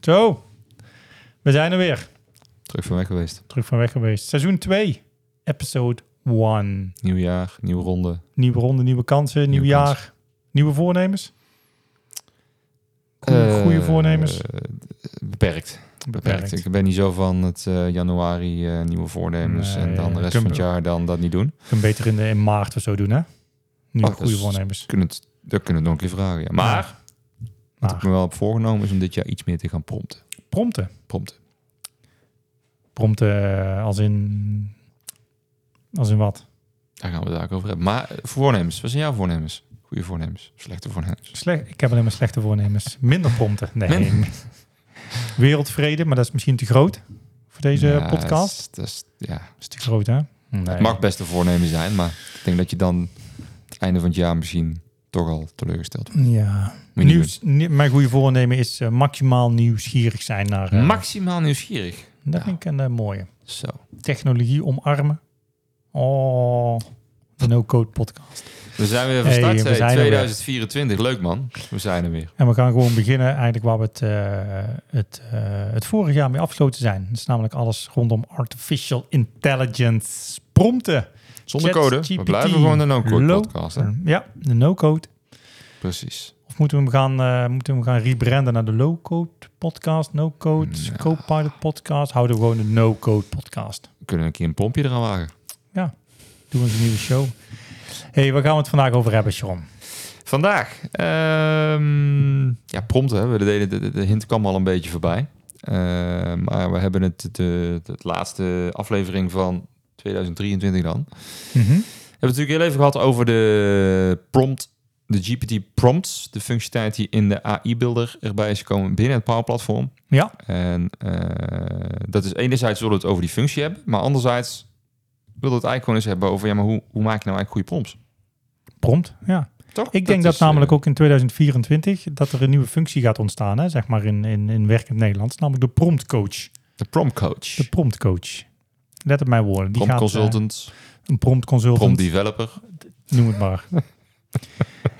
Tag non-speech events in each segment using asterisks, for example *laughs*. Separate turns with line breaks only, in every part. Zo, we zijn er weer.
Terug van weg geweest.
Terug van weg geweest. Seizoen 2, episode 1.
Nieuw jaar, nieuwe ronde.
Nieuwe ronde, nieuwe kansen, nieuw
Nieuwe
jaar. Nieuwe voornemens? Goeie,
Eh,
goeie voornemens?
eh, beperkt.
Beperkt.
Beperkt. Ik ben niet zo van het eh, januari eh, nieuwe voornemens
Nee,
en dan de rest
kun-
van het jaar dan dat niet doen.
Ik kan beter in, de, in maart of zo doen, hè? Nieuwe
Oh,
goede
dat is-
voornemens.
Kunnen het, dat kunnen we nog een keer vragen. Ja. Maar wat ik
Maar,
me wel heb voorgenomen is om dit jaar iets meer te gaan prompten.
prompten.
Prompten.
Prompten eh, als in... Als in wat?
Daar gaan we het daar over hebben. Maar eh, voornemens, wat zijn jouw voornemens? Goede voornemens, slechte voornemens.
Slecht, ik heb alleen maar slechte voornemens. Minder prompten. Nee.
Minder.
*laughs* Wereldvrede, maar dat is misschien te groot voor deze
Ja,
podcast.
Dat is, dat is- ja.
Dat is te groot, hè?
Het
Nee.
mag best een voornemen zijn, maar ik denk dat je dan het einde van het jaar misschien toch al teleurgesteld wordt.
Ja.
Moet je niet
Nieuws, nie- mijn goede voornemen is eh, maximaal nieuwsgierig zijn naar...
doen.
eh,
Maximaal nieuwsgierig.
Dat vind ik een eh, mooie.
Zo.
Technologie omarmen. Oh, de No Code podcast.
We zijn weer van
Hey,
start.
we
hey,
zijn er
2024. Leuk man. We zijn er weer.
En we gaan gewoon beginnen eigenlijk waar we het, eh, het, eh, het vorig jaar mee afgesloten zijn. Dat is namelijk alles rondom artificial intelligence prompten.
Zonder
Chat
code. We
GPT.
blijven gewoon de no-code
Hallo.
podcast. Hè?
Ja, de No Code.
Precies.
Of moeten we hem gaan, eh, moeten we hem gaan rebranden naar de Low Code podcast, No Code,
Ja.
Copilot podcast? Houden we gewoon de No Code podcast.
We kunnen een keer een pompje eraan wagen.
Doen we eens een nieuwe show. hey, waar gaan we het vandaag over hebben, Sharon?
Vandaag. ehm, ja, prompt. Hè? We deden, de, de- de hint kwam al een beetje voorbij. Eh, maar we hebben het, de, de laatste aflevering van 2023 dan. We hebben het natuurlijk heel even gehad over de prompt, de GPT prompts, de functionaliteit die in de AI-builder erbij is gekomen binnen het Power Platform.
Ja.
En eh, dat is enerzijds willen we het over die functie hebben, maar anderzijds willen we het eigenlijk gewoon eens hebben over, ja, maar hoe, hoe maak je nou eigenlijk goede prompts?
Prompt, ja.
Toch?
Ik denk dat
eh,
eh, namelijk ook in 2024 dat er een nieuwe functie gaat ontstaan, hè, zeg maar in, in, in werkend Nederlands, namelijk de promptcoach.
De prompt coach,
De promptcoach. Let op mijn woorden. Die
prompt
gaat, eh,
consultant,
een promptconsultant.
prompt developer.
Noem het
*laughs*
maar.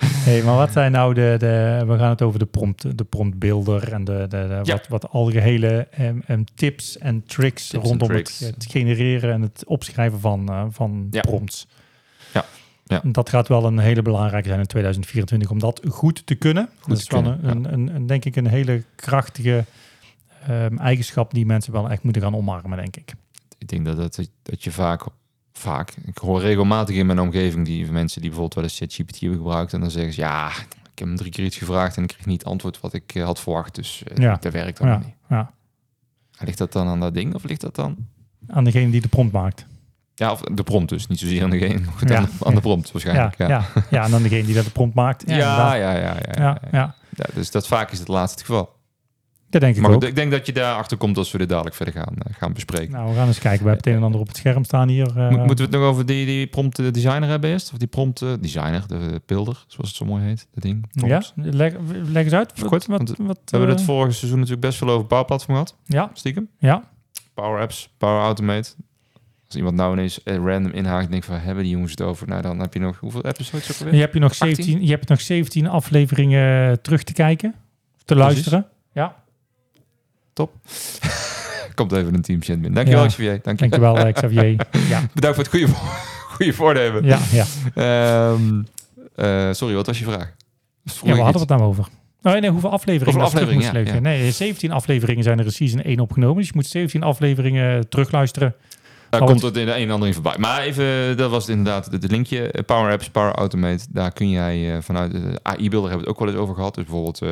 hey, maar wat zijn nou de, de... We gaan het over de prompt, de promptbeelder en de, de, de-
Ja.
wat, wat algehele em, em, tips en tricks
Tips en
rondom
tricks.
Het, het genereren en het opschrijven van, eh, van
Ja.
prompts.
Ja. Ja.
Dat gaat wel een hele belangrijke zijn in 2024 om dat goed te kunnen. dat
te
is wel
kunnen,
een, een, een, een- denk ik een hele krachtige em, eigenschap die mensen wel echt moeten gaan omarmen, denk ik.
Ik denk dat, dat, dat je vaak, vaak, ik hoor regelmatig in mijn omgeving die mensen die bijvoorbeeld wel eens ChatGPT hebben gebruikt en dan zeggen ze, ja, ik heb hem drie keer iets gevraagd en ik kreeg niet het antwoord wat ik eh, had verwacht, dus eh,
Ja.
dat werkt dan
Ja,
niet.
ja.
Ligt dat dan aan dat ding of ligt dat dan?
Aan degene die de prompt maakt.
Ja, of de prompt dus, niet zozeer aan degene, *laughs* maar goed,
Ja.
aan, de, aan de prompt waarschijnlijk. Ja,
Ja, ja. ja, en dan degene die dat de prompt maakt.
ja,
inderdaad.
ja, ja. ja,
ja,
ja.
ja.
Ja, dus dat vaak is het laatste het geval.
Dat denk ik
maar
ook.
goed, ik denk dat je daarachter komt als we dit dadelijk verder gaan, eh, gaan bespreken.
Nou, we gaan eens kijken. We hebben het een en ander op het scherm staan hier. eh.
Mo- Moeten we het nog over die, die prompt eh, designer hebben eerst? Of die prompt eh, designer, de eh, builder, zoals het zo mooi heet, dat ding.
ja,
Prompt.
leg, leg eens uit.
Even kort,
wat,
want
wat,
We hebben
eh,
het vorige seizoen natuurlijk best veel over Power Platform gehad,
Ja,
stiekem.
ja.
Power Apps, Power Automate. Als iemand nou ineens eh, random inhaakt en denkt van, hebben die jongens het over? Nou, dan heb je nog, hoeveel episodes ook
Je
alweer?
hebt, je, nog
18?
17, je hebt nog 17 afleveringen eh, terug te kijken. Te luisteren. Ja,
Komt even een teamchat binnen. Dankjewel,
Ja.
Xavier. Dank je.
dankjewel eh,
*laughs*
Xavier. Ja,
Bedankt voor het goede, voor- *laughs* goede voornemen.
ja, ja.
Ehm, eh, sorry, wat was je vraag?
ja we hadden het nou over. Nee, nee, hoeveel afleveringen?
Hoeveel
dat ze terug
afleveringen,
moesten
ja,
luisteren. Nee, 17 afleveringen zijn er in season 1 opgenomen. Dus je moet 17 afleveringen eh, terugluisteren.
Daar
Oh,
komt het in de een en ander in voorbij. Maar even, dat was het inderdaad het linkje. eh, Power Apps, Power Automate. Daar kun jij eh, vanuit de AI-beelden hebben we het ook wel eens over gehad. Dus bijvoorbeeld eh,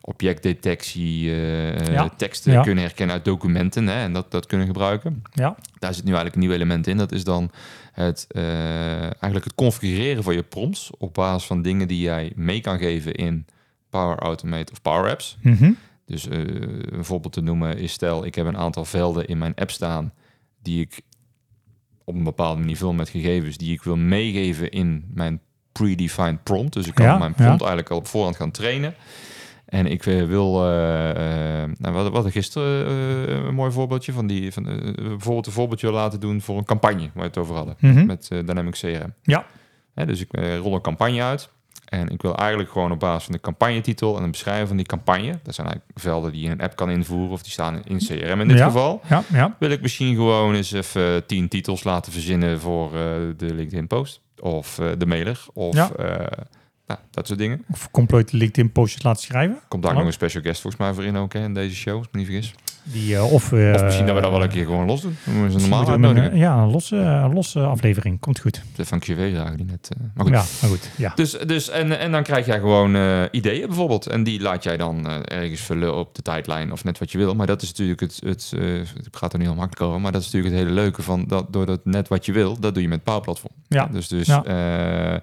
objectdetectie, eh, eh,
Ja.
teksten
Ja.
kunnen herkennen uit documenten hè, en dat, dat kunnen gebruiken.
Ja.
Daar zit nu eigenlijk een nieuw element in. Dat is dan het, eh, eigenlijk het configureren van je prompts op basis van dingen die jij mee kan geven in Power Automate of Power Apps.
Mhm.
Dus eh, een voorbeeld te noemen is stel ik heb een aantal velden in mijn app staan die ik op een bepaalde manier vul met gegevens die ik wil meegeven in mijn predefined prompt. Dus ik kan
Ja,
mijn prompt
ja.
eigenlijk al op voorhand gaan trainen. En ik eh, wil, eh, eh, nou, wat, wat gisteren eh, een mooi voorbeeldje van die, van, eh, bijvoorbeeld een voorbeeldje laten doen voor een campagne waar we het over hadden
Mhm.
met eh Dynamic CRM.
Ja.
Hè, dus ik eh, rol een campagne uit. En ik wil eigenlijk gewoon op basis van de campagnetitel en een beschrijving van die campagne, dat zijn eigenlijk velden die je in een app kan invoeren of die staan in CRM in dit
Ja.
geval,
Ja, ja.
wil ik misschien gewoon eens even tien titels laten verzinnen voor eh, de LinkedIn post of eh, de mailer of
Ja.
eh, nou, dat soort dingen.
Of compleet LinkedIn postjes laten schrijven.
Komt daar
Hallo?
nog een special guest volgens mij voor in ook hè, in deze show, als ik me niet vergis.
Die, eh, of, eh,
Of misschien dat we dat wel een keer gewoon los doen. Dan moeten we ze
misschien
normaal
moeten we hem eh, een-
uitnodigen.
Ja, een losse, een losse aflevering. Komt goed.
De van QV zagen die net. eh, maar goed.
Ja, maar goed. Ja.
Dus, dus en, en dan krijg jij gewoon eh, ideeën bijvoorbeeld. En die laat jij dan eh, ergens vullen op de tijdlijn of net wat je wil. Maar dat is natuurlijk het, het eh, het gaat er niet heel makkelijk over, maar dat is natuurlijk het hele leuke van dat, door dat net wat je wil, dat doe je met Power Platform.
Ja.
Dus, dus
Ja.
eh,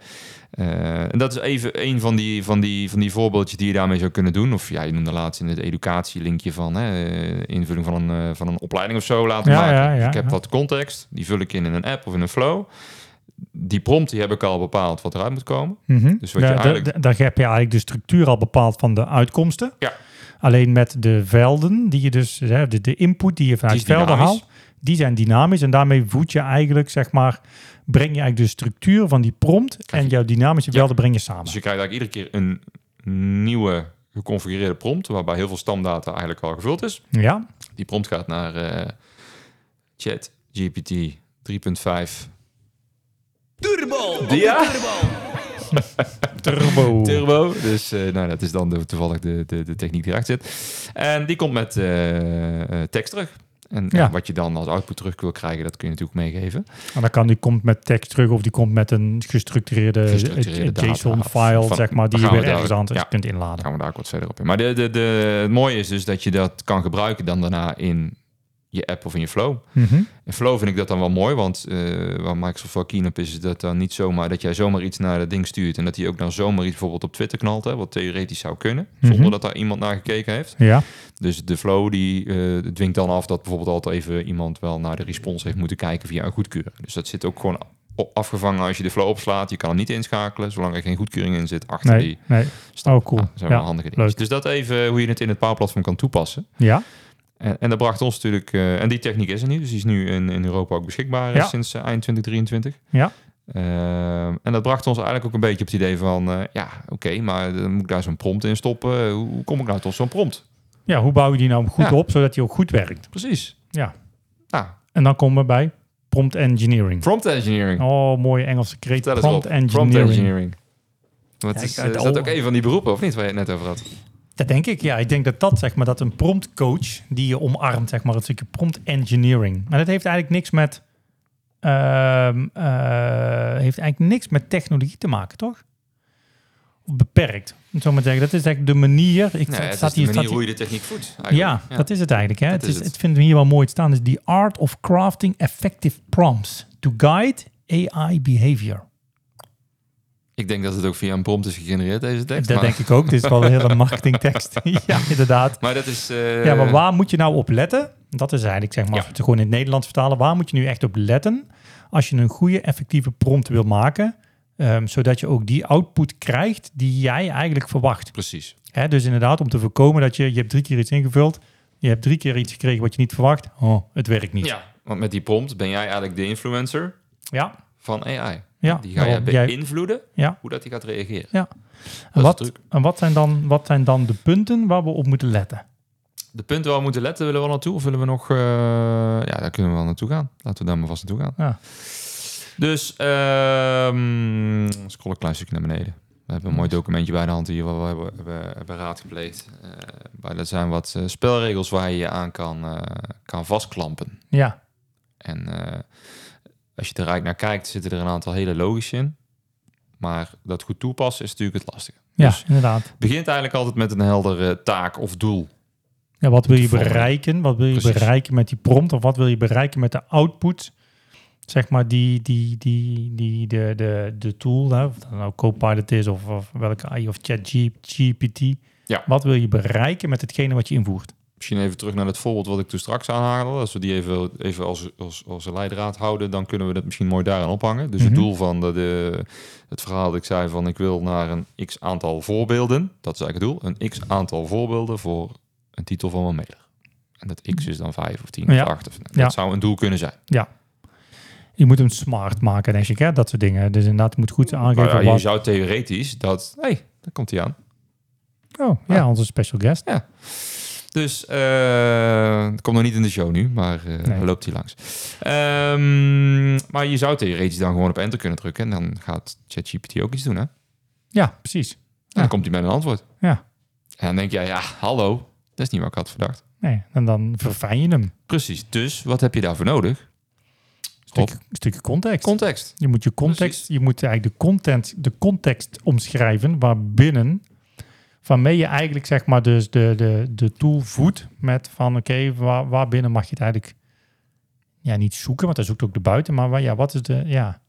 eh, en dat is even een van die, van, die, van die voorbeeldjes die je daarmee zou kunnen doen. Of jij noemde laatst in het educatielinkje van hè, eh, invulling van een, eh, van een opleiding of zo laten
Ja,
maken.
ja, ja,
Dus ik heb
ja.
wat context, die vul ik in in een app of in een flow. Die prompt die heb ik al bepaald wat eruit moet komen.
Mhm.
Dus wat je
Ja, da-
eigenlijk-
da- Daar heb je eigenlijk de structuur al bepaald van de uitkomsten.
Ja.
Alleen met de velden die je dus, hè, de, de input die je vanuit
Die is
velden
dynamisch.
haalt, die zijn dynamisch. En daarmee voed je eigenlijk, zeg maar, breng je eigenlijk de structuur van die prompt
Krijg
en
je-
jouw dynamische
Ja.
velden breng je samen.
Dus je krijgt eigenlijk iedere keer een nieuwe geconfigureerde prompt, waarbij heel veel stamdata eigenlijk al gevuld is.
Ja,
Die prompt gaat naar eh, chat GPT 3.5
Turbo!
Ja.
Turbo!
turbo.
Turbo. Dus eh, nou, dat is dan de, toevallig de, de, de techniek die erachter zit. En die komt met eh, eh, tekst terug. En
Ja.
ja, wat je dan als output terug wil krijgen, dat kun je natuurlijk meegeven.
En dan kan die komt met tekst terug of die komt met een gestructureerde,
Gestructureerde data
JSON-file,
van-
zeg maar, die je
gaan we
weer
daar-
ergens anders
ja.
kunt
Dan
inladen.
gaan we daar ook wat verder op in. Maar de, de, de, het mooie is dus dat je dat kan gebruiken dan daarna in je app of in je flow.
Mhm.
En Flow vind ik dat dan wel mooi, want eh, waar Microsoft wel keen op is, is dat dan niet zomaar dat jij zomaar iets naar dat ding stuurt en dat hij ook dan zomaar iets bijvoorbeeld op Twitter knalt, hè, wat theoretisch zou kunnen, zonder
Mhm.
dat daar iemand naar gekeken heeft.
Ja,
Dus de Flow die eh, dwingt dan af dat bijvoorbeeld altijd even iemand wel naar de respons heeft moeten kijken via een goedkeuring. Dus dat zit ook gewoon o- afgevangen als je de Flow opslaat. Je kan hem niet inschakelen, zolang er geen goedkeuring in zit achter
nee,
die.
nee.
stap.
Oh, cool.
Ah, dat zijn wel
Ja,
handige dingen.
leuk.
Dus dat even hoe je het in het paalplatform kan toepassen.
Ja,
En, en dat bracht ons natuurlijk, eh, en die techniek is er nu, dus die is nu in, in Europa ook beschikbaar eh,
Ja.
sinds eh, eind 2023.
Ja.
Ehm, en dat bracht ons eigenlijk ook een beetje op het idee van, eh, ja, oké, maar dan moet ik daar zo'n prompt in stoppen. Hoe, hoe kom ik nou tot zo'n prompt?
ja, hoe bouw je die nou goed
Ja.
op, zodat die ook goed werkt?
Precies.
Ja.
Nou,
En dan komen we bij prompt engineering.
prompt engineering.
Oh, mooie Engelse kreet.
Vertel
Prompt,
eens op.
engineering.
Prompt engineering. Wat
Ja,
is,
ik- uit
eh, is
de
dat ook
ogen.
een van die beroepen, of niet, waar je het net over had?
Dat denk ik, ja. Ik denk dat dat, zeg maar, dat een promptcoach die je omarmt, zeg maar, dat stukje prompt engineering. Maar dat heeft eigenlijk niks met, ehm, eh, heeft eigenlijk niks met technologie te maken, toch? Of beperkt, om het zo maar te zeggen. Dat is eigenlijk de manier. Ik,
Nee,
het
het
staat
is de
hier, staat
manier
hier-
hoe je de techniek voedt.
ja, dat is het eigenlijk. Hè?
Dat
Het,
is
is,
het.
het vinden we hier wel mooi te staan. is The Art of Crafting Effective Prompts to Guide AI Behavior.
Ik denk dat het ook via een prompt is gegenereerd, deze tekst.
dat
maar,
denk ik ook. Dit is wel een
*laughs*
hele marketingtekst. *laughs* ja, inderdaad.
maar dat is... eh,
Ja, maar waar moet je nou op letten? Dat is eigenlijk, zeg maar,
Ja.
als we het gewoon in het Nederlands vertalen. Waar moet je nu echt op letten als je een goede, effectieve prompt wil maken? ehm, zodat je ook die output krijgt die jij eigenlijk verwacht.
Precies.
Hè, dus inderdaad, om te voorkomen dat je, je hebt drie keer iets ingevuld. Je hebt drie keer iets gekregen wat je niet verwacht. Oh, het werkt niet.
Ja, want met die prompt ben jij eigenlijk de influencer
Ja,
van AI.
ja.
Die ga jij
daarom. Oh, Jij-
beïnvloeden
Ja.
hoe dat hij gaat reageren.
Ja.
Dat is
wat,
de truc.
en wat zijn, dan, wat zijn dan de punten waar we op moeten letten?
De punten waar we moeten letten, willen we al naartoe? Of willen we nog... eh, ja, daar kunnen we wel naartoe gaan. Laten we daar maar vast naartoe gaan.
Ja.
Dus, ehm scroll een klein stukje naar beneden. We hebben een mooi documentje bij de hand hier, waar we hebben, hebben, hebben raadgepleegd. Eh, maar dat zijn wat eh, spelregels waar je je aan kan, eh, kan vastklampen.
Ja,
En eh, als je er eigenlijk naar kijkt, zitten er een aantal hele logische in. Maar dat goed toepassen is natuurlijk het lastige.
ja
Dus-
inderdaad.
Het begint eigenlijk altijd met een heldere taak of doel.
Ja, wat wil je
Vormen.
bereiken? Wat wil je
Precies.
bereiken met die prompt? Of wat wil je bereiken met de output? Zeg maar die, die, die, die, de, de, de tool, hè, of dat nou Copilot is of, of welke AI of ChatGPT.
Ja.
Wat wil je bereiken met hetgene wat je invoert?
Misschien even terug naar het voorbeeld wat ik toen straks aanhaalde. Als we die even, even als, als, als een leidraad houden, dan kunnen we dat misschien mooi daaraan ophangen. Dus
Mhm.
het doel van de, de- het verhaal dat ik zei van ik wil naar een x aantal voorbeelden. Dat is eigenlijk het doel. Een x aantal voorbeelden voor een titel van mijn mailer. En dat x is dan 5 of 10
Mhm. Ja.
of 8. Of, dat
Ja.
zou een doel kunnen zijn.
Je moet hem smart maken, denk ik, hè? dat soort dingen. Dus inderdaad, je moet goed aangeven
Nou ja, je
wat...
zou theoretisch dat... Hé, hey, daar komt hij aan.
Oh, ja,
Ja.
onze special guest.
Dus, eh het komt nog niet in de show nu, maar eh,
Nee.
loopt hij langs. Ehm, maar je zou theoretisch dan gewoon op enter kunnen drukken. En dan gaat ChatGPT ook iets doen, hè?
Ja, precies.
En
Ja.
dan komt hij met een antwoord.
Ja.
En dan denk jij, ja, hallo, dat is niet wat ik had verdacht.
Nee, en dan verfijn je hem.
Precies, dus wat heb je daarvoor nodig?
Stukje, stukje context.
Context.
je moet je context,
Precies.
je moet eigenlijk de content, de context omschrijven waarbinnen, waarmee je eigenlijk zeg maar dus de, de, de tool voedt met van oké, waar, waarbinnen mag je het eigenlijk ja, niet zoeken, want hij zoekt ook de buiten, maar waar, ja, wat is de, ja,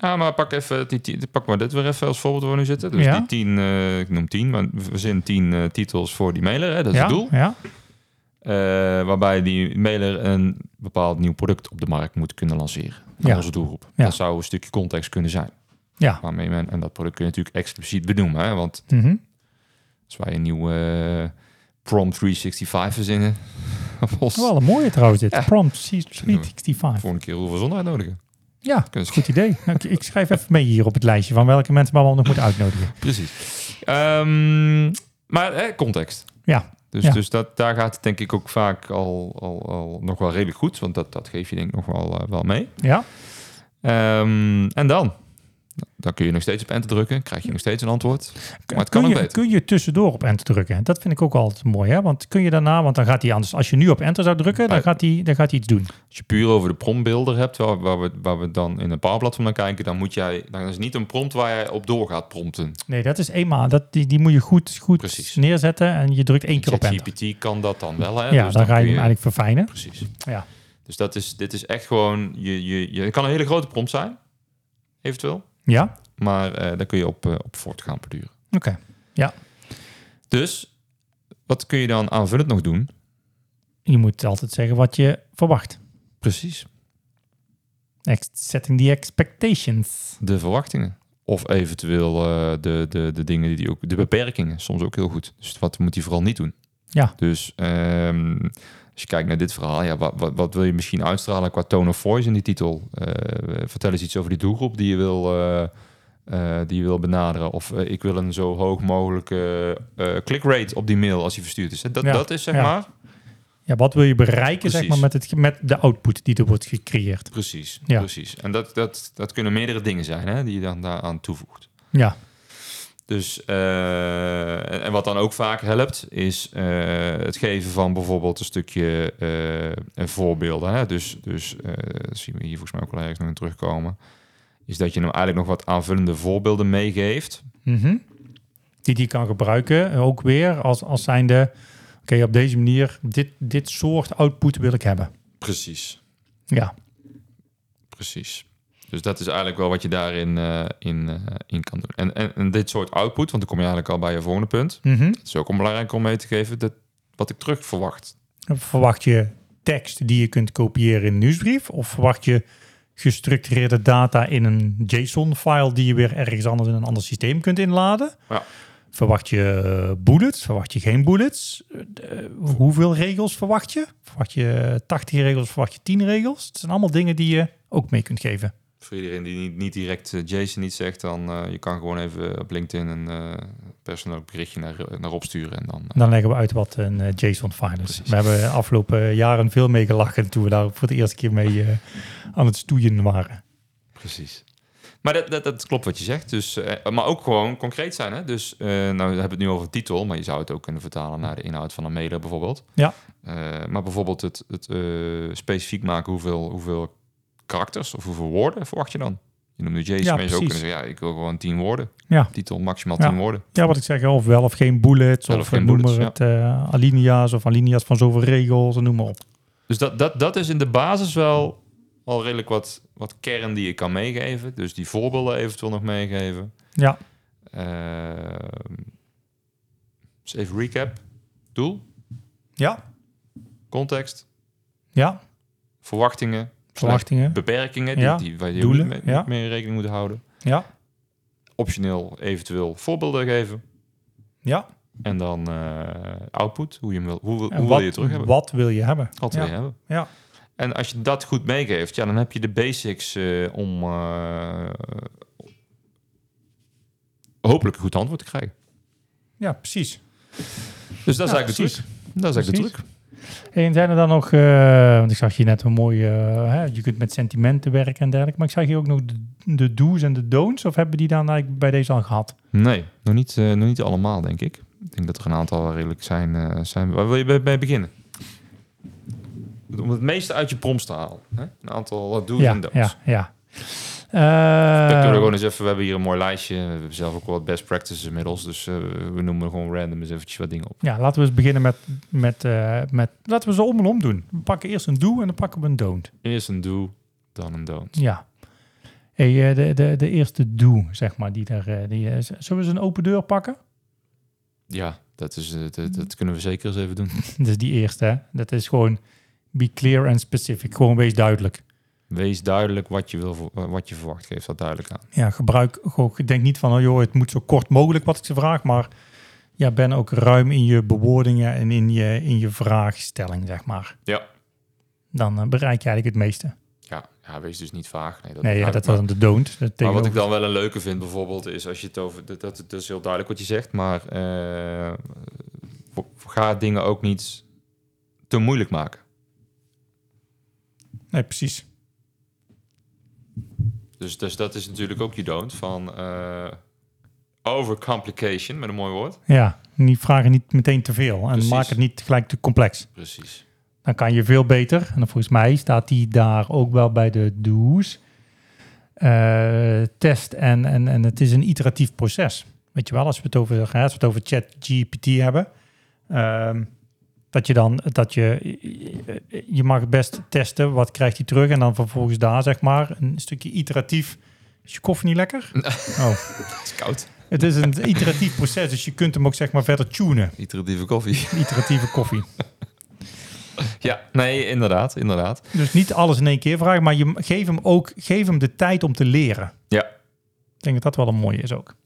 Ah, maar pak even die, tien- pak maar dit weer even als voorbeeld waar we nu zitten. Dus
Ja.
die tien, eh, ik noem tien, maar we verzinnen tien eh, titels voor die mailer, hè? dat is
ja,
het doel.
ja,
Eh, waarbij die mailer een bepaald nieuw product op de markt moet kunnen lanceren. Naar
Ja.
onze doelgroep.
Ja.
Dat zou een stukje context kunnen zijn.
ja,
Waarmee men, en dat product kun je natuurlijk expliciet benoemen. Hè? Want
mhm,
als wij een nieuwe eh, Prom 365 verzinnen... *laughs* volgens-
wel een mooie trouwens dit,
Ja.
prompt 365,
Volgende keer hoeveel zon uitnodigen.
ja,
Kunst.
goed idee. Nou, ik, ik schrijf even mee hier op het lijstje van welke mensen we allemaal nog moeten uitnodigen.
*laughs* Precies. Ehm, maar hè, context.
Ja.
Dus,
Ja.
dus dat, daar gaat het denk ik ook vaak al, al, al nog wel redelijk goed. Want dat, dat geef je denk ik nog wel, eh, wel mee.
Ja,
Ehm, en dan? Dan kun je nog steeds op enter drukken. Krijg je nog steeds een antwoord. Maar het kan
kun,
ook
je,
beter.
kun je tussendoor op enter drukken? Dat vind ik ook altijd mooi, hè? Want kun je daarna, want dan gaat hij anders. Als je nu op enter zou drukken, dan
Ja.
gaat hij, dan gaat hij iets doen.
Als je puur over de promptbeelder hebt, waar, waar, we, waar we dan in een paar platform naar kijken, dan, moet jij, dan is het niet een prompt waar jij op door gaat prompten.
Nee, dat is eenmaal. Dat, die, die moet je goed, goed
Precies.
neerzetten en je drukt één keer op enter.
ChatGPT kan dat dan wel. Hè?
Ja,
Dus
dan ga je
kun
hem eigenlijk verfijnen.
Precies.
Ja.
Dus dat is, dit is echt gewoon... Je, je, je, het kan een hele grote prompt zijn, eventueel.
Ja,
Maar eh, daar kun je op, eh, op voort gaan beduren.
oké.
Dus wat kun je dan aanvullend nog doen?
Je moet altijd zeggen wat je verwacht.
Precies.
Ex- setting the expectations.
de verwachtingen. Of eventueel eh, de, de, de dingen die die ook, de beperkingen, soms ook heel goed. Dus wat moet hij vooral niet doen?
Ja.
Dus ehm, als je kijkt naar dit verhaal, ja, wat, wat, wat wil je misschien uitstralen qua tone of voice in die titel? Eh, vertel eens iets over die doelgroep die je wil, eh, eh, die je wil benaderen. Of eh, ik wil een zo hoog mogelijke eh click rate op die mail als die verstuurd is. Dat,
Ja,
dat is zeg
ja.
maar.
Ja, wat wil je bereiken zeg
Precies.
maar, met, het, ge- met de output die er wordt gecreëerd?
Precies,
Ja.
precies. En dat, dat, dat kunnen meerdere dingen zijn hè, die je dan daaraan toevoegt.
Ja,
Dus, eh, en, en wat dan ook vaak helpt, is eh, het geven van bijvoorbeeld een stukje eh, voorbeelden. Hè? Dus, dus eh, dat zien we hier volgens mij ook wel ergens nog in terugkomen. Is dat je hem eigenlijk nog wat aanvullende voorbeelden meegeeft.
Mhm. Die die kan gebruiken, eh, ook weer als, als zijnde... Oké, op deze manier, dit, dit soort output wil ik hebben.
Precies,
Ja,
precies. Dus dat is eigenlijk wel wat je daarin eh, in, eh, in kan doen. En, en, en dit soort output, want dan kom je eigenlijk al bij je volgende punt.
Mhm.
Het is ook belangrijk om mee te geven dat, wat ik terug verwacht.
Dan Verwacht je tekst die je kunt kopiëren in een nieuwsbrief? Of verwacht je gestructureerde data in een JSON-file die je weer ergens anders in een ander systeem kunt inladen?
Ja.
Verwacht je eh, bullets? Verwacht je geen bullets? Eh, eh, hoeveel regels verwacht je? Verwacht je 80 regels? Verwacht je 10 regels? Het zijn allemaal dingen die je ook mee kunt geven.
Voor iedereen die niet, niet direct eh, Jason niet zegt, dan eh, je kan gewoon even op LinkedIn een eh persoonlijk berichtje naar, naar opsturen en dan. eh,
Dan leggen we uit wat een eh, JSON-file is.
Precies.
We hebben afgelopen jaren veel mee gelachen toen we daar voor de eerste keer mee eh, aan het stoeien waren.
Precies. Maar dat, dat, dat klopt wat je zegt. Dus, eh, maar ook gewoon concreet zijn. Hè? Dus eh, nou we hebben het nu over titel, maar je zou het ook kunnen vertalen naar de inhoud van een mailer bijvoorbeeld.
Ja.
Eh, maar bijvoorbeeld het, het eh, specifiek maken hoeveel, hoeveel karakters of hoeveel woorden verwacht je dan? Je noemde Jason,
Ja,
maar je zou ook
precies.
kunnen zeggen, ja, ik wil gewoon tien woorden.
Ja.
Titel maximaal
Ja.
tien woorden.
Ja, wat ik zeg, of wel of geen bullets,
Wel
of,
of geen
noem
bullets,
maar het eh, alinea's, of alinea's van zoveel regels, en noem maar op.
Dus dat, dat, dat is in de basis wel al redelijk wat, wat kern die je kan meegeven. Dus die voorbeelden eventueel nog meegeven.
Ja.
Ehm, dus even recap. Doel,
Ja,
context,
ja,
verwachtingen,
verwachtingen.
beperkingen die,
Ja,
die, waar je
doelen,
niet mee,
ja.
niet meer in rekening moet houden.
Ja,
Optioneel eventueel voorbeelden geven.
ja.
En dan eh, output, hoe, je hem wil, hoe, wil-
En
hoe wil
wat,
je het terug hebben.
Wat wil je hebben?
Wat
ja.
wil je hebben.
ja.
En als je dat goed meegeeft, ja, dan heb je de basics eh, om eh, hopelijk een goed antwoord te krijgen.
Ja, precies.
Dus dat is
Ja,
eigenlijk
precies.
de truc. Dat is eigenlijk de
Precies.
truc.
Hey, En zijn er dan nog, eh, want ik zag hier net een mooie, eh, hè, je kunt met sentimenten werken en dergelijke, maar ik zag hier ook nog de, de do's en de don'ts, of hebben die dan eigenlijk bij deze al gehad?
Nee, nog niet, eh, nog niet allemaal, denk ik. Ik denk dat er een aantal wel redelijk zijn. eh, zijn. Waar wil je bij, bij beginnen? Om het meeste uit je prompts te halen. Hè? Een aantal wat do's
ja,
en don'ts.
ja, ja.
Dan kunnen we
Eh,
gewoon eens even, we hebben hier een mooi lijstje. We hebben zelf ook wat best practices inmiddels. Dus eh, we noemen gewoon random eens eventjes wat dingen op.
ja, laten we eens beginnen met, met, eh, met, laten we ze om en om doen. We pakken eerst een do en dan pakken we een don't.
Eerst een do, dan een don't.
Ja. Hey, eh, de, de, de eerste do, zeg maar, die daar, eh, die, eh, z- zullen we eens een open deur pakken? *laughs*
Ja, dat, is, eh, dat, dat kunnen we zeker eens even doen.
Dat is die eerste, hè. Dat is gewoon be clear and specific, gewoon wees duidelijk.
Wees duidelijk wat je, wil, voor- wat je verwacht. Geef dat duidelijk aan.
ja, gebruik gewoon. Ik denk niet van, oh joh, het moet zo kort mogelijk wat ik ze vraag, maar ja, ben ook ruim in je bewoordingen en in je, in je vraagstelling, zeg maar.
Ja.
Dan eh, bereik je eigenlijk het meeste.
Ja, ja wees dus niet vaag. Nee, dat
Nee, ja,
begrijp
dat
ik wel.
was de don't. Dat
Maar wat ik
tegenover-
dan wel een leuke vind bijvoorbeeld is als je het over dat, dat het dus heel duidelijk wat je zegt, maar eh, voor- ga dingen ook niet te moeilijk maken.
Nee, precies.
Dus, dus dat is natuurlijk ook je don't van eh overcomplication met een mooi woord.
Ja, niet vragen niet meteen te veel en
Precies.
maak het niet gelijk te complex.
Precies.
Dan kan je veel beter. En dan volgens mij staat die daar ook wel bij de do's. Eh, test en, en, en het is een iteratief proces. Weet je wel, als we het over, hè, als we het over chat GPT hebben. ehm, dat je dan, dat je, je mag het best testen, wat krijgt hij terug? En dan vervolgens daar, zeg maar, een stukje iteratief. Is je koffie niet lekker? Oh.
Het is koud.
Het is een iteratief proces, dus je kunt hem ook, zeg maar, verder tunen.
Iteratieve koffie.
Iteratieve koffie.
ja, nee, inderdaad, inderdaad.
Dus niet alles in één keer vragen, maar je geef hem ook geef hem de tijd om te leren.
Ja.
Ik denk dat dat wel een mooie is ook.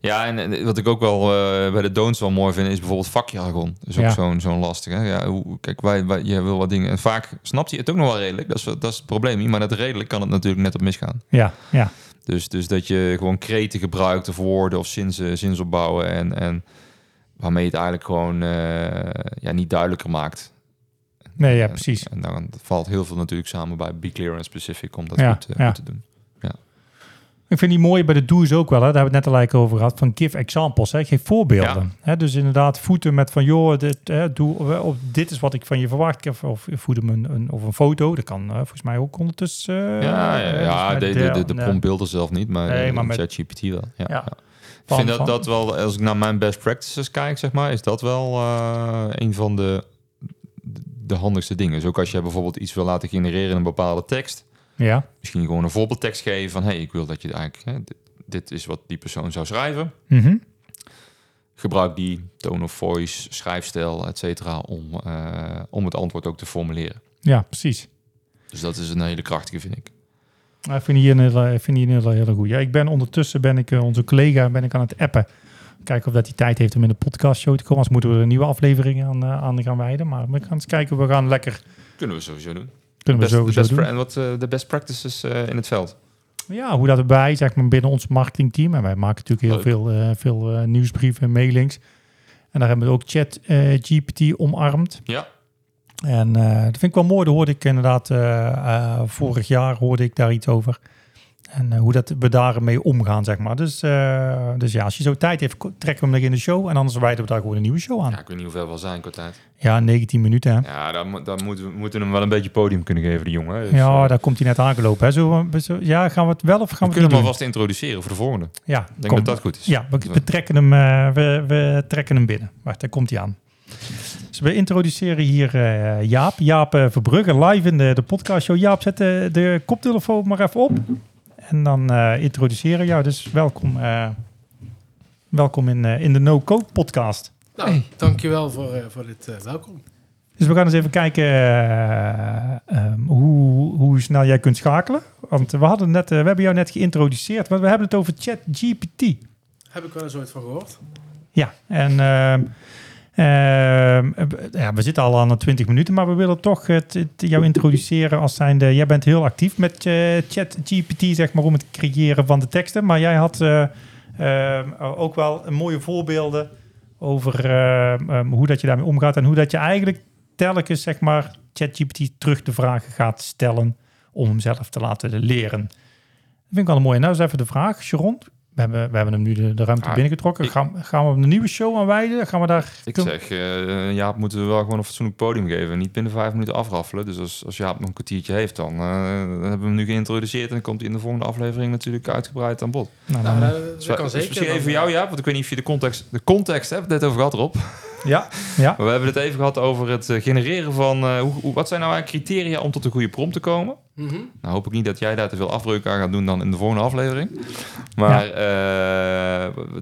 Ja, en, en wat ik ook wel eh, bij de don'ts wel mooi vind, is bijvoorbeeld vakjargon. Dat is ook
Ja.
zo'n zo'n lastig. Hè? Ja, hoe, kijk, wij, wij, je wil wat dingen. En vaak snapt hij het ook nog wel redelijk. Dat is, dat is het probleem niet. Maar net redelijk kan het natuurlijk net op misgaan.
Ja, ja.
Dus, dus dat je gewoon kreten gebruikt of woorden of zinsen, zinsopbouwen. En, en waarmee je het eigenlijk gewoon eh, ja, niet duidelijker maakt.
Nee, ja,
En-
precies.
En dan valt heel veel natuurlijk samen bij Be Clear en Specific om dat
Ja,
goed, eh,
ja.
goed te doen.
Ik vind die mooie bij de do's ook wel. Hè? Daar hebben we het net al eigenlijk over gehad. Van give examples, hè? geef voorbeelden. Hè? Dus inderdaad voeden met van... joh, dit, hè, doe, of, dit is wat ik van je verwacht. Of, of voed hem een, een, of een foto. Dat kan eh, volgens mij ook ondertussen. eh,
ja, ja,
eh,
ja,
dus met
de, de, de, de
eh,
promptbeelden zelf niet, maar,
Nee,
eh,
maar met-
ChatGPT wel. Ja.
Ja.
Ik vind
Van-
dat,
van-
dat wel, als ik naar mijn best practices kijk, zeg maar, is dat wel eh, een van de, de handigste dingen. Dus ook als je bijvoorbeeld iets wil laten genereren in een bepaalde tekst,
Ja,
misschien gewoon een voorbeeldtekst geven van, hey, ik wil dat je het eigenlijk, hè, dit, dit is wat die persoon zou schrijven.
Mhm.
Gebruik die tone of voice, schrijfstijl, et cetera, om, eh, om het antwoord ook te formuleren.
ja precies.
Dus dat is een hele krachtige, vind ik.
Ja, Ik vind hier eh, een hele, ik vind hier een hele, hele goeie. Ja, ik ben ondertussen, ben ik, eh, onze collega, ben ik aan het appen. Kijken of dat hij tijd heeft om in de podcastshow te komen. Anders moeten we er een nieuwe aflevering aan, eh, aan gaan wijden. Maar we gaan eens kijken, we gaan lekker,
Kunnen we sowieso doen.
kunnen we
Best- de
sowieso
best pra-
doen.
En wat eh, de best practices eh, in het veld.
Ja, hoe dat wij, zeg maar, binnen ons marketingteam. En wij maken natuurlijk heel veel, eh, veel eh, nieuwsbrieven en mailings. En daar hebben we ook chat eh, GPT omarmd.
Ja.
En eh, dat vind ik wel mooi. Daar hoorde ik inderdaad eh, eh, vorig jaar hoorde ik daar iets over. En eh, hoe dat we daarmee omgaan, zeg maar. Dus, eh, dus ja, als je zo tijd heeft, ko- trekken we hem nog in de show. En anders wijden we daar gewoon een nieuwe show aan.
Ja, ik weet niet hoeveel wel zijn qua tijd.
Ja, 19 minuten, hè.
Ja, dan, mo- dan moeten, we, moeten we hem wel een beetje podium kunnen geven, die jongen. hè. Dus,
Ja,
eh,
daar komt hij net aangelopen. Hè. Zullen we- zullen we- ja, gaan we het wel of gaan we,
we kunnen
het
hem
niet doen?
alvast introduceren voor de volgende. Ik
Ja,
denk
kom.
dat dat goed is.
Dus Ja, we, we trekken hem, eh, we, we trekken hem binnen. Wacht, daar komt hij aan. Dus we introduceren hier eh, Jaap. Jaap eh, Verbrugge live in de, de podcastshow. Jaap, zet de, de koptelefoon maar even op. En dan eh, introduceren we jou. Dus welkom, eh, welkom in, eh, in de No Code podcast.
Nou, dankjewel voor, eh, voor dit eh, welkom.
Dus we gaan eens even kijken eh, ehm, hoe, hoe snel jij kunt schakelen. Want we, hadden net, eh, we hebben jou net geïntroduceerd, maar we hebben het over ChatGPT.
Heb ik wel eens ooit van gehoord.
Ja, en ehm, Ehm, eh, ja, we zitten al aan de 20 minuten, maar we willen toch het, het- jou introduceren als zijnde... Jij bent heel actief met eh, ChatGPT, zeg maar, om het creëren van de teksten. Maar jij had eh, ehm, ook wel mooie voorbeelden over ehm, ehm, hoe dat je daarmee omgaat... en hoe dat je eigenlijk telkens, zeg maar, ChatGPT terug de vragen gaat stellen... om hem zelf te laten leren. Dat vind ik wel een mooie. Nou is even de vraag, Sharon. We hebben, we hebben hem nu de, de ruimte
Ah,
binnengetrokken.
ik-
Gaan, gaan we hem een nieuwe show aanwijden? Gaan we daar...
Ik zeg, eh Jaap moeten we wel gewoon een fatsoenlijk podium geven. Niet binnen vijf minuten afraffelen. Dus als, als Jaap nog een kwartiertje heeft, dan, eh, hebben we hem nu geïntroduceerd. En dan komt hij in de volgende aflevering natuurlijk uitgebreid aan bod.
Nou,
Nou,
dan-
dat- dat,
Dus
kan
dus
zeker.
misschien
Dan,
even voor jou, Jaap. Want ik weet niet of je de context, de context hebt. Dit over gehad erop.
Ja, ja.
Maar *laughs* we hebben het even gehad over het eh, genereren van... eh, hoe, hoe- wat zijn nou eigenlijk criteria om tot een goede prompt te komen?
Mhm.
Nou hoop ik niet dat jij daar te veel afbreuk aan gaat doen dan in de volgende aflevering. Maar eh,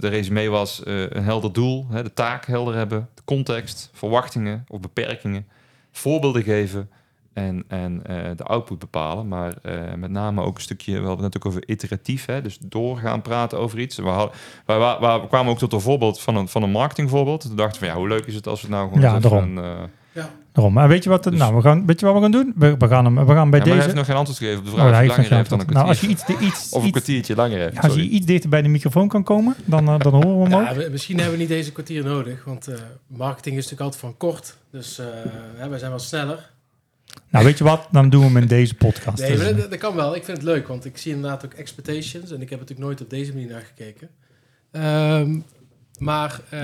de resume was eh, een helder doel, hè, de taak helder hebben, de context, verwachtingen of beperkingen, voorbeelden geven en, en eh, de output bepalen. Maar eh, met name ook een stukje, we hadden het net ook over iteratief, hè, dus doorgaan praten over iets. We, hadden, we, we- we- we kwamen ook tot een voorbeeld van een, van een marketingvoorbeeld. Toen dachten we, van, ja, hoe leuk is het als we het nou gewoon
Ja,
eens even
daarom.
een, eh,
Ja.
Daarom. Maar weet je wat,
Dus-
nou, we gaan, weet je wat we gaan doen? We, we gaan, hem, we gaan bij
ja, maar hij
deze...
heeft nog geen antwoord gegeven op de
Oh,
vraag
hij
of
heeft
hij
nog
langer heeft dan een
geen antwoord. Nou, als je
kwartier.
iets, de- iets,
Of een
iets,
kwartiertje langer heeft.
als je
sorry.
iets dichter bij de microfoon kan komen, dan, eh, dan horen we hem
Ja,
ook.
we- misschien hebben we niet deze kwartier nodig, want eh, marketing is natuurlijk altijd van kort. Dus eh, hè, wij zijn wel sneller.
Nou, weet je wat? Dan doen we hem in deze podcast.
Nee,
Dus,
maar
eh,
dat, dat kan wel. Ik vind het leuk, want ik zie inderdaad ook expectations. En ik heb natuurlijk nooit op deze manier naar gekeken. Ehm, maar eh,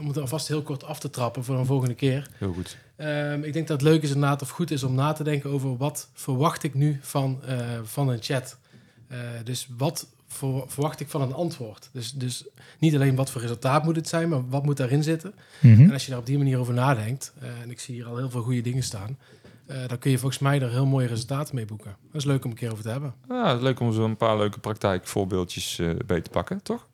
om het alvast heel kort af te trappen voor een volgende keer.
Heel goed.
Ehm, ik denk dat het leuk is inderdaad of goed is om na te denken over wat verwacht ik nu van, eh, van een chat. Eh, dus wat voor- verwacht ik van een antwoord? Dus, dus niet alleen wat voor resultaat moet het zijn, maar wat moet daarin zitten? En
mhm.
als je daar op die manier over nadenkt, eh, en ik zie hier al heel veel goede dingen staan, eh, dan kun je volgens mij er heel mooie resultaten mee boeken. Dat is leuk om een keer over te hebben.
Ja, Ah, het is leuk om zo een paar leuke praktijkvoorbeeldjes eh bij te pakken, toch?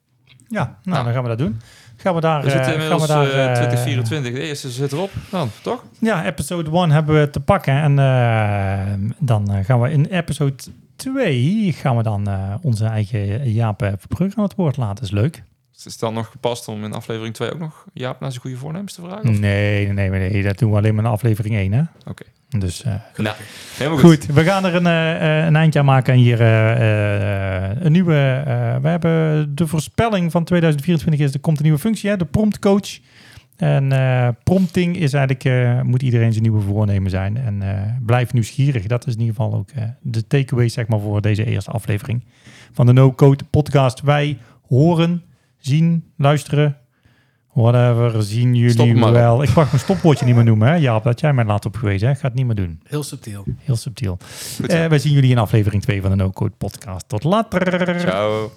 Ja, nou, dan gaan we dat doen. Gaan we daar...
We zitten
eh, gaan
inmiddels
we
eh
daar eh,
2024. De eerste zit erop dan, toch?
Ja, episode 1 hebben we te pakken. En eh, dan eh, gaan we in episode 2 gaan we dan eh, onze eigen Jaap eh, Verbrugge aan het woord laten. is leuk.
Is het dan nog gepast om in aflevering 2 ook nog Jaap naar zijn goede voornemens te vragen?
Nee, nee, nee, nee. Dat doen we alleen maar in aflevering 1, hè?
Oké.
Dus... eh,
Nou, helemaal
Goed,
goed.
we gaan er een, eh, eh, een eindje aan maken en hier eh, eh, een nieuwe. eh, we hebben de voorspelling van 2024 is er komt een nieuwe functie, hè, de promptcoach. En eh, prompting is eigenlijk eh, moet iedereen zijn nieuwe voornemen zijn en eh, blijf nieuwsgierig. Dat is in ieder geval ook eh, de takeaway zeg maar voor deze eerste aflevering van de No Code podcast. Wij horen, zien, luisteren. Whatever, zien
Stop
jullie
hem maar.
wel. Ik mag mijn stopwoordje niet meer noemen, hè? Jaap, dat jij mij laat opgewezen. hè. Ik ga het niet meer doen.
Heel subtiel.
Heel subtiel.
Goed zo.
Eh, wij zien jullie in aflevering 2 van de No Code Podcast. Tot later.
Ciao.